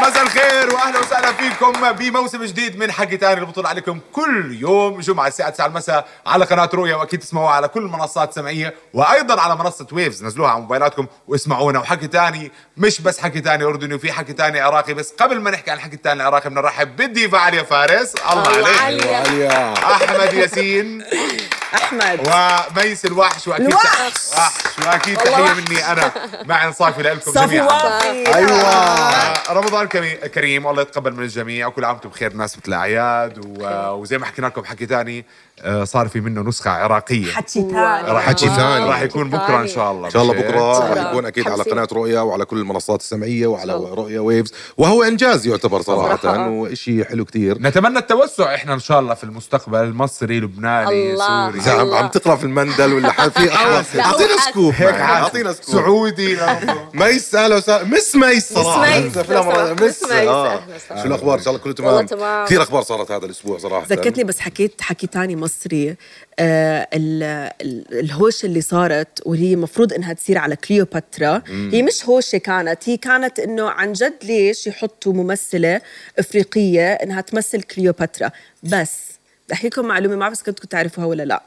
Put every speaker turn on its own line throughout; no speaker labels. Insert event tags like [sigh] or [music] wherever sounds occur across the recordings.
مساء الخير واهلا وسهلا فيكم بموسم جديد من حكي تاني البطولة عليكم كل يوم جمعة الساعة 9 المساء على قناة رؤيا واكيد تسمعوها على كل المنصات السمعية وايضا على منصة ويفز نزلوها على موبايلاتكم واسمعونا وحكي تاني مش بس حكي تاني اردني وفي حكي تاني عراقي بس قبل ما نحكي عن الحكي التاني العراقي بنرحب بالديفا عليا فارس الله عليك احمد ياسين
احمد
وميس الوحش واكيد
الوحش.
وحش واكيد تحية مني انا مع انصافي لكم
صفي
جميعا
وافي
آه، رمضان كريم- كريم والله يتقبل من الجميع وكل عام وانتم بخير ناس الاعياد و- وزي ما حكينا لكم حكي ثاني صار في منه نسخه عراقيه
حكي ثاني
راح
حكي ثاني.
راح يكون بكره ان شاء الله
ان شاء الله
مش هيك؟
بكره
إن شاء
راح
الله.
يكون اكيد على
خمسين.
قناه رؤيا وعلى كل المنصات السمعيه وعلى رؤيا ويفز وهو انجاز يعتبر
صراحة.
صراحه وإشي حلو كتير
نتمنى التوسع احنا ان شاء الله في المستقبل مصري لبناني
الله.
إذا
سوري [laughs]
عم, عم تقرا في المندل ولا ح- في أشخاص.
لا،
اعطينا
هو
سكوب
هيك
معنا،
عاد.
اعطينا سكوب
سعودي [laughs]
ميس اهلا وسهلا مس ميس صراحه
ميس،
هنسى فيلم
لو
مرة-
سمحت، مس ميس،
آه.
أهلا وسهلا.
شو الاخبار ان شاء الله كله
والله
تمام
تمام.
كثير اخبار صارت هذا الاسبوع صراحه
ذكرتني بس حكيت حكي تاني مصري آه ال- ال- الهوشة اللي صارت واللي هي المفروض انها تصير على كليوباترا هي مش هوشة كانت هي كانت انه عن جد ليش يحطوا ممثلة افريقية انها تمثل كليوباترا بس بدي احكي لكم معلومه ما بعرف إذا كنتوا تعرفوها ولا لا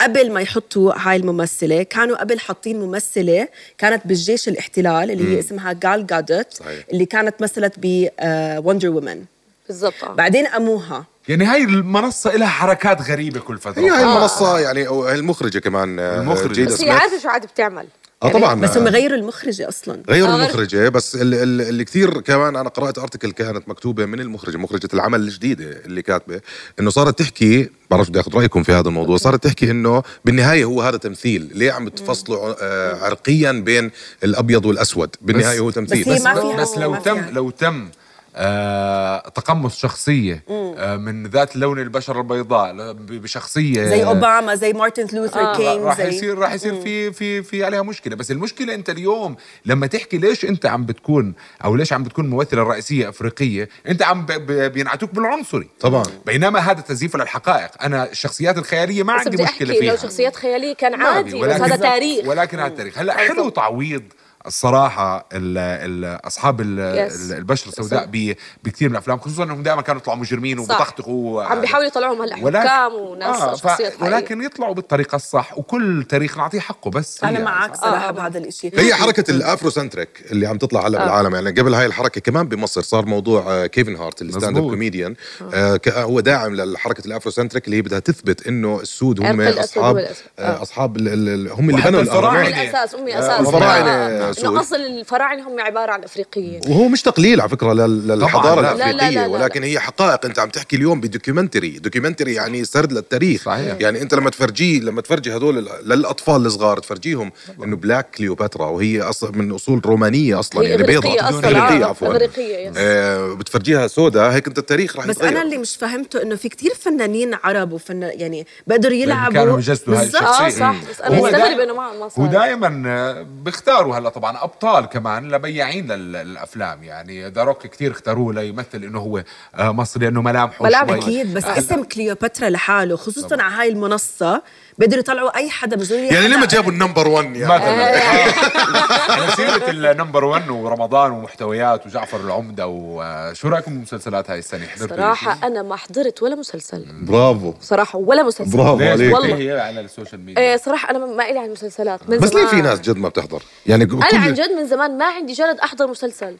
قبل ما يحطوا هاي الممثله كانوا قبل حاطين ممثله كانت بالجيش الاحتلال اللي هي اسمها جال جادوت
صحيح.
اللي كانت مثلت بوندر وومن
بالضبط آه.
بعدين قاموها
يعني هاي المنصه لها حركات غريبه كل آه. فتره
هي هاي المنصه يعني أو المخرجه كمان آه،
المخرجة.
جيدا
بس هي
سميث.
عارفه شو عاد بتعمل
اه طبعا
يعني بس هم غيروا المخرجه اصلا
غير
آه، غير-
المخرجة بس ال- ال- اللي كثير كمان أنا قرأت أرتكل كانت مكتوبة من المخرجة مخرجة العمل الجديدة اللي كاتبة إنه صارت تحكي بعرفش بدي آخذ رأيكم في هذا الموضوع صارت تحكي إنه بالنهاية هو هذا تمثيل ليه عم تفصلوا آه، عرقيا بين الأبيض والأسود بالنهاية هو تمثيل
بس هي ما
بس
فيها-
بس لو
ما
تم
فيها.
لو تم آه تقمص شخصية آه من ذات لون البشرة البيضاء ل- ب- بشخصية
زي اوباما زي مارتن لوثر كينج
آه. راح
زي
يصير راح يصير في في في عليها مشكله بس المشكله انت اليوم لما تحكي ليش انت عم بتكون او ليش عم بتكون ممثله رئيسيه افريقيه انت عم ب- ب- بينعتوك بالعنصري
طبعاً.
بينما هذا تزييف للحقائق انا الشخصيات الخياليه ما
بس
عندي
بدي
مشكله
احكي لو
فيها
شخصيات خياليه كان
ما
عادي
أبي،
بس هذا تاريخ
ولكن هذا تاريخ هلا
بالضبط.
حلو تعويض الصراحة ال ال أصحاب ال
Yes.
ال البشرة السوداء ب- بكثير من الأفلام خصوصا أنهم دائما كانوا يطلعوا مجرمين
صح.
وبطخطخوا
عم بيحاولوا يطلعوهم هلا حكام وناس
آه،
شخصيات
ف... ولكن يطلعوا بالطريقة الصح وكل تاريخ نعطيه حقه بس
انا
هي
معك
صح.
صراحه
آه.
بهذا الشيء
هي حركة الافرو سنتريك اللي عم تطلع هلا بالعالم يعني قبل هاي الحركة كمان بمصر صار موضوع آه، كيفن هارت اللي ستاند اب
مزبوط.
آه.
كوميديان آه، هو داعم لحركة الافرو سنتريك اللي هي بدها تثبت انه السود هم
عرق الأسود
اصحاب
والأسود.
آه، اصحاب ال- ال- هم اللي
وحتى
بنوا
الفراعنة.
الاهرامات
من اساس امي اساس
الفراعنة
آه، آه.
سود.
انه اصل الفراعنه هم عباره عن افريقيين
وهو مش تقليل على فكره لل- للحضاره
لا.
الافريقيه
لا، لا، لا، لا.
ولكن هي حقائق انت عم تحكي اليوم بدوكيومنتري دوكيومنتري يعني سرد للتاريخ
صحيح.
يعني انت لما تفرجيه لما تفرجي هدول ال- للاطفال الصغار تفرجيهم انه بلاك كليوباترا وهي اصلا من اصول رومانيه اصلا
هي
يعني
إغريقية أصلاً،
اغريقيه
آه،
عفوا
إغريقية، يس.
آه بتفرجيها سودا هيك انت التاريخ رح
بس
طيب.
يتغير
انا اللي مش فاهمته انه في كتير فنانين عرب وفن يعني بقدروا يلعبوا
كانوا يجسدوا هاي
بالظبط.
الشخصية.
اه صح بس انا
هو
مستغرب
دايماً-
انه ما ما صار
ودائما بيختاروا هلا طبعا ابطال كمان لبياعين لل- للافلام يعني ذا روك كثير اختاروه ليمثل انه هو آه، مصري انه ملامحه
ملامحه.
شوي.
اكيد بس اسم كليوباترا لحاله خصوصا على هاي المنصه بقدروا يطلعوا اي حدا مش ضروري
يعني ليه ما
حدا-
جابوا النمبر 1 يعني
مثلا [laughs]
آه.
على يعني سيرة النمبر 1 ورمضان ومحتويات وجعفر العمدة آه، وشو رايكم بالمسلسلات هاي السنة حضرت
صراحه انا ما حضرت ولا مسلسل
برافو
صراحه ولا مسلسل
برافو
ليش
عليك.
والله
والله
هي على السوشيال ميديا
إيه، صراحه انا ما إلي عن المسلسلات من
بس ليه في
زمان.
ناس جد ما بتحضر يعني
انا عن جد من زمان ما عندي جرد احضر مسلسل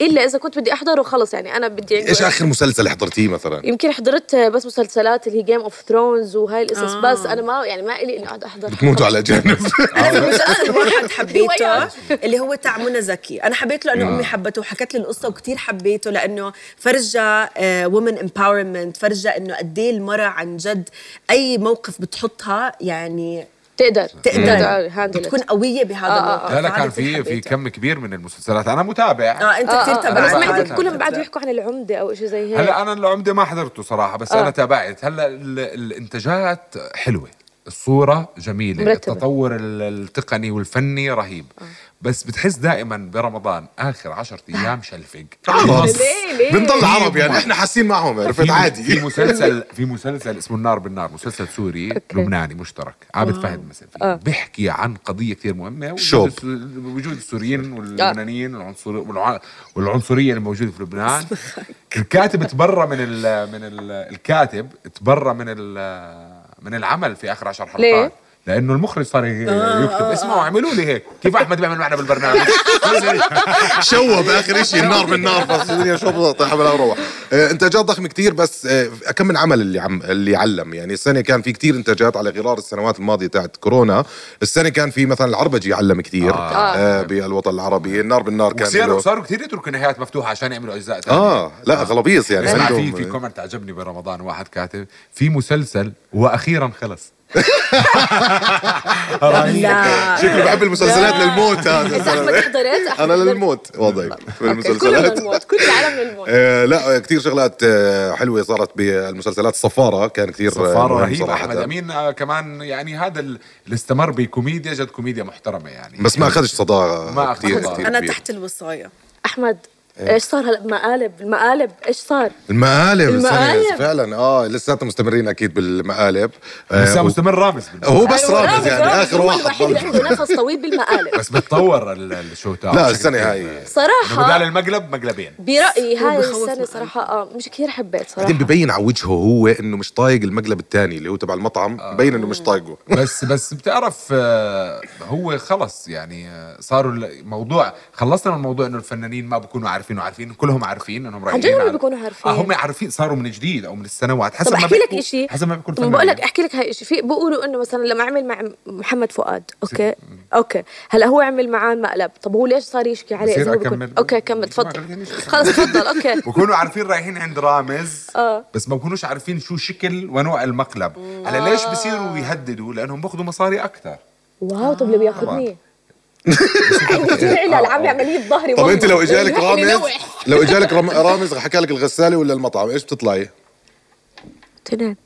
الا اذا كنت بدي احضره خلص يعني انا بدي عنده-
ايش اخر مسلسل حضرتيه مثلا
يمكن حضرت بس مسلسلات اللي هي جيم اوف ثرونز وهاي القصص
آه.
آه. بس انا ما يعني ما الي اني اقعد احضر
بتموتوا على [laughs] جانب
انا في مسلسل
[laughs]
واحد حبيته
وياك.
اللي هو تاع منى زكي انا حبيته لانه
نعم.
امي حبته وحكت لي القصه وكثير حبيته آه، لانه فرجى وومن امباورمنت فرجى انه قد ايه المراه عن جد اي موقف بتحطها يعني
تقدر آه،
تقدر
هاندل
تكون قويه بهذا
Mm. آه، آه،
الموقف
لا لا
فهذا
كان
كتير
في في
حبيته.
كم كبير من المسلسلات انا متابع
اه انت كثير
انا
تبعت.
تبعت
آه،
آه.
سمعت
تبعت.
كلهم بعد بيحكوا عن العمده او شيء زي هيك
هلا انا العمدة ما حضرته صراحة بس انا تابعت هلا ال- الانتاجات حلوة الصورة جميلة
مرتبة.
التطور ال- التقني والفني رهيب بس بتحس دائما برمضان آخر عشر أيام شلفق
خلاص
ليه- ليه؟
بنضل عرب يعني احنا حاسين معهم عرفت
في- في
عادي
مسلسل في مسلسل اسمه النار بالنار مسلسل سوري لبناني مشترك عابد فهد مثلا فيه بيحكي عن قضيه كثير مهمه وجود
آه. شوب.
الس- وجود السوريين واللبنانيين والعنصر والع- والعنصريه الموجوده في
[laughs]
لبنان الكاتب تبرى من ال من ال الكاتب تبرى من ال من العمل في اخر عشر حلقات
ليه؟
لانه المخرج صار ي-
آه.
يكتب اسمعوا اعملوا لي هيك كيف احمد بيعمل معنا
[laughs]
بالبرنامج
شوب اخر شيء النار بالنار بس الدنيا شوب طيب حمل وروح آه، انتاجات ضخمه كتير بس آه، كم من عمل اللي عم اللي علم يعني السنه كان في كتير انتاجات على غرار السنوات الماضيه تاعت كورونا السنه كان في مثلا العربجي علم كتير
آه.
آه. بالوطن العربي النار بالنار كان
وصاروا
له-
صاروا كثير يتركوا نهايات مفتوحه عشان يعملوا اجزاء ثانيه
اه لا غلبيص يعني
اسمع
عندهم-
في في كومنت [laughs] عجبني برمضان واحد كاتب في مسلسل واخيرا خلص
آه. لا
شكله بحب المسلسلات للموت [laughs]
اذا احمد
هذا
حضرت أحمد
انا
حضرت.
للموت وضعي في
أوكي، كلنا
المسلسلات
للموت كل العالم للموت
آه لا آه، كتير شغلات آه حلوه صارت بالمسلسلات الصفاره كان كتير آه،
صفاره
مهم
رهيب
صراحة.
احمد امين آه، كمان يعني هذا ال- اللي استمر بكوميديا جد كوميديا محترمه يعني
بس ما اخذش صدى
ما
كتير
أخذ.
كتير
انا
كبير.
تحت الوصايه
احمد
إيه.
ايش صار هلا مقالب المقالب ايش صار
المقالب
المقالب.
المقالب فعلا اه لساتنا مستمرين اكيد بالمقالب آه
لسه
و-
مستمر رامز بالنسبة لي.
هو بس
أيوة،
رامز يعني اخر
هو
واحد
الوحيد اللي
ضل.
عنده نفس طويل بالمقالب
[laughs]
بس بتطور ال- الشو تاعه
لا
بشكل
السنه
كبير.
هاي
إنه بدال
صراحه
المقلب مقلبين
برايي هاي
بخوف
السنه
مقالب.
صراحه اه مش كثير حبيت صراحه
بعدين ببين على وجهه هو انه مش طايق المقلب الثاني اللي هو تبع المطعم ببين انه مش طايقه
بس بس بتعرف آه، هو خلص يعني آه، صاروا الموضوع خلصنا من موضوع انه الفنانين ما بكونوا عارفين وعارفين كلهم عارفين انهم رايحين
جد هم
على-
بيكونوا عارفين.
آه، هم عارفين صاروا من جديد او من السنوات حسب
طب
ما
احكي لك
بيحكوا-
شيء
حسب ما بيكون
بقول لك احكي لك هاي شيء في بيقولوا انه مثلا لما عمل مع محمد فؤاد اوكي اوكي هلا هو عمل معاه مقلب طب هو ليش صار يشكي عليه
بصير
إذا هو بيكون-
أكمل؟
اوكي كمل
ما- يعني
تفضل خلص تفضل اوكي
[laughs] بكونوا عارفين رايحين عند رامز
آه.
بس ما بكونوش عارفين شو شكل ونوع المقلب هلا
آه.
ليش بصيروا يهددوا لانهم بياخذوا مصاري اكثر
واو طب
[laughs]
اللي بياخذني العم عمليه بظهري
طب انت لو
والله. [laughs] يعني
اجالك
بيحكي لي
رامز
نوع.
لو اجالك رم- رامز حكى لك الغساله ولا المطعم ايش بتطلعي؟
تنين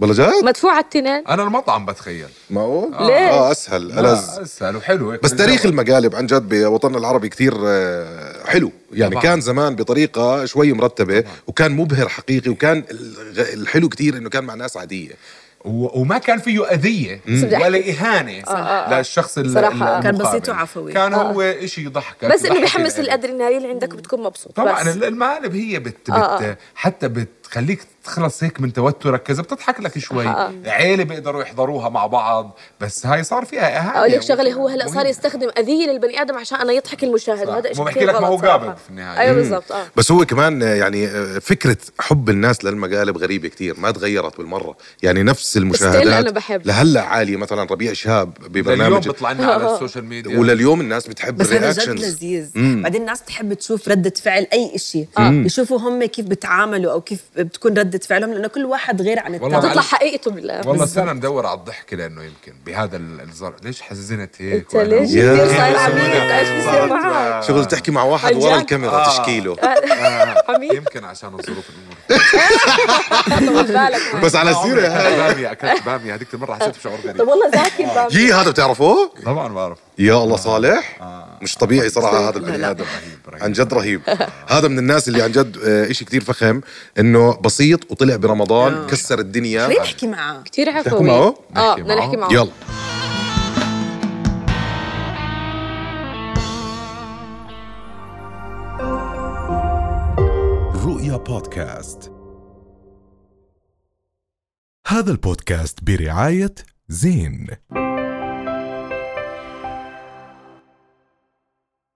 والله جد؟
مدفوعه التنين
انا المطعم بتخيل آه،
معقول؟
ليش؟
اه اسهل الز
لا، اسهل وحلو هيك
بس تاريخ
بالجو.
المقالب عن جد بوطننا العربي كثير آه، حلو يعني
طبعاً.
كان زمان بطريقه شوي مرتبه وكان مبهر حقيقي وكان الغ- الحلو كثير انه كان مع ناس عاديه
و- وما كان فيه اذيه
بدي أحكي-
ولا اهانه للشخص ال-
آه، صراحة،
ال-
آه.
المقابل.
كان بسيط وعفوي.
كان هو شيء يضحكك
بس انه
يضحك [laughs]
بيحمس
القلب.
الادرينالين اللي عندك بتكون مبسوط
طبعا
بس.
ال- المقالب هي بت,
آه،
بت حتى بتخليك تخلص هيك من توترك كذا بتضحك لك شوي
آه،
عيله بيقدروا يحضروها مع بعض بس هاي صار فيها اهانه
اقول لك شغله هو هلا صار
مهمة.
يستخدم اذيه للبني ادم عشان انا يضحك المشاهد
صح.
هذا شيء
مو بحكي
كثير
لك ما هو
غلط صراحة.
قابل في النهاية.
ايوه
مم.
بالضبط اه
بس هو كمان آه، يعني آه، فكره حب الناس للمقالب غريبه كتير ما تغيرت بالمره يعني نفس المشاهدات
أنا بحب.
لهلا عاليه مثلا ربيع شهاب
اليوم
ببرنامج
بيطلع لنا
[laughs]
على السوشيال ميديا
ولليوم الناس بتحب
بس هذا جد
الرياكشنز
لذيذ بعدين الناس تحب تشوف ردة فعل أي شيء يشوفوا هم كيف بتعاملوا أو كيف بتكون ردة فعلهم لأنه كل واحد غير عن
والله
التاني
تطلع
معلش.
حقيقته بالله
والله السنه ندور على الضحك لانه يمكن بهذا ال- الزرع ليش حزنت هيك
انت ليش
يا
كثير صاير
سلام.
عميد ايش بصير معك
شغل تحكي مع واحد
عن
ورا
جد؟
الكاميرا تشكيله
عميد
يمكن عشان الظروف الامور
طول بالك معك.
بس على السيره
عمري
هاي
باميه اكلت باميه هذيك المره حسيت بشعور
طب
غريب
والله زاكي بامي
يي هذا بتعرفوه؟
طبعا بعرف
يا الله صالح مش طبيعي صراحه هذا البني ادم
رهيب.
عن جد رهيب هذا من الناس اللي عن جد آه، إشي كتير فخم انه بسيط وطلع برمضان كسر الدنيا
آه. ليه نحكي معه؟
كثير
تحكوا معه؟
عفوي اه
نحكي
بدنا
معه.
نحكي معه
يلا
رؤيا بودكاست هذا البودكاست برعاية زين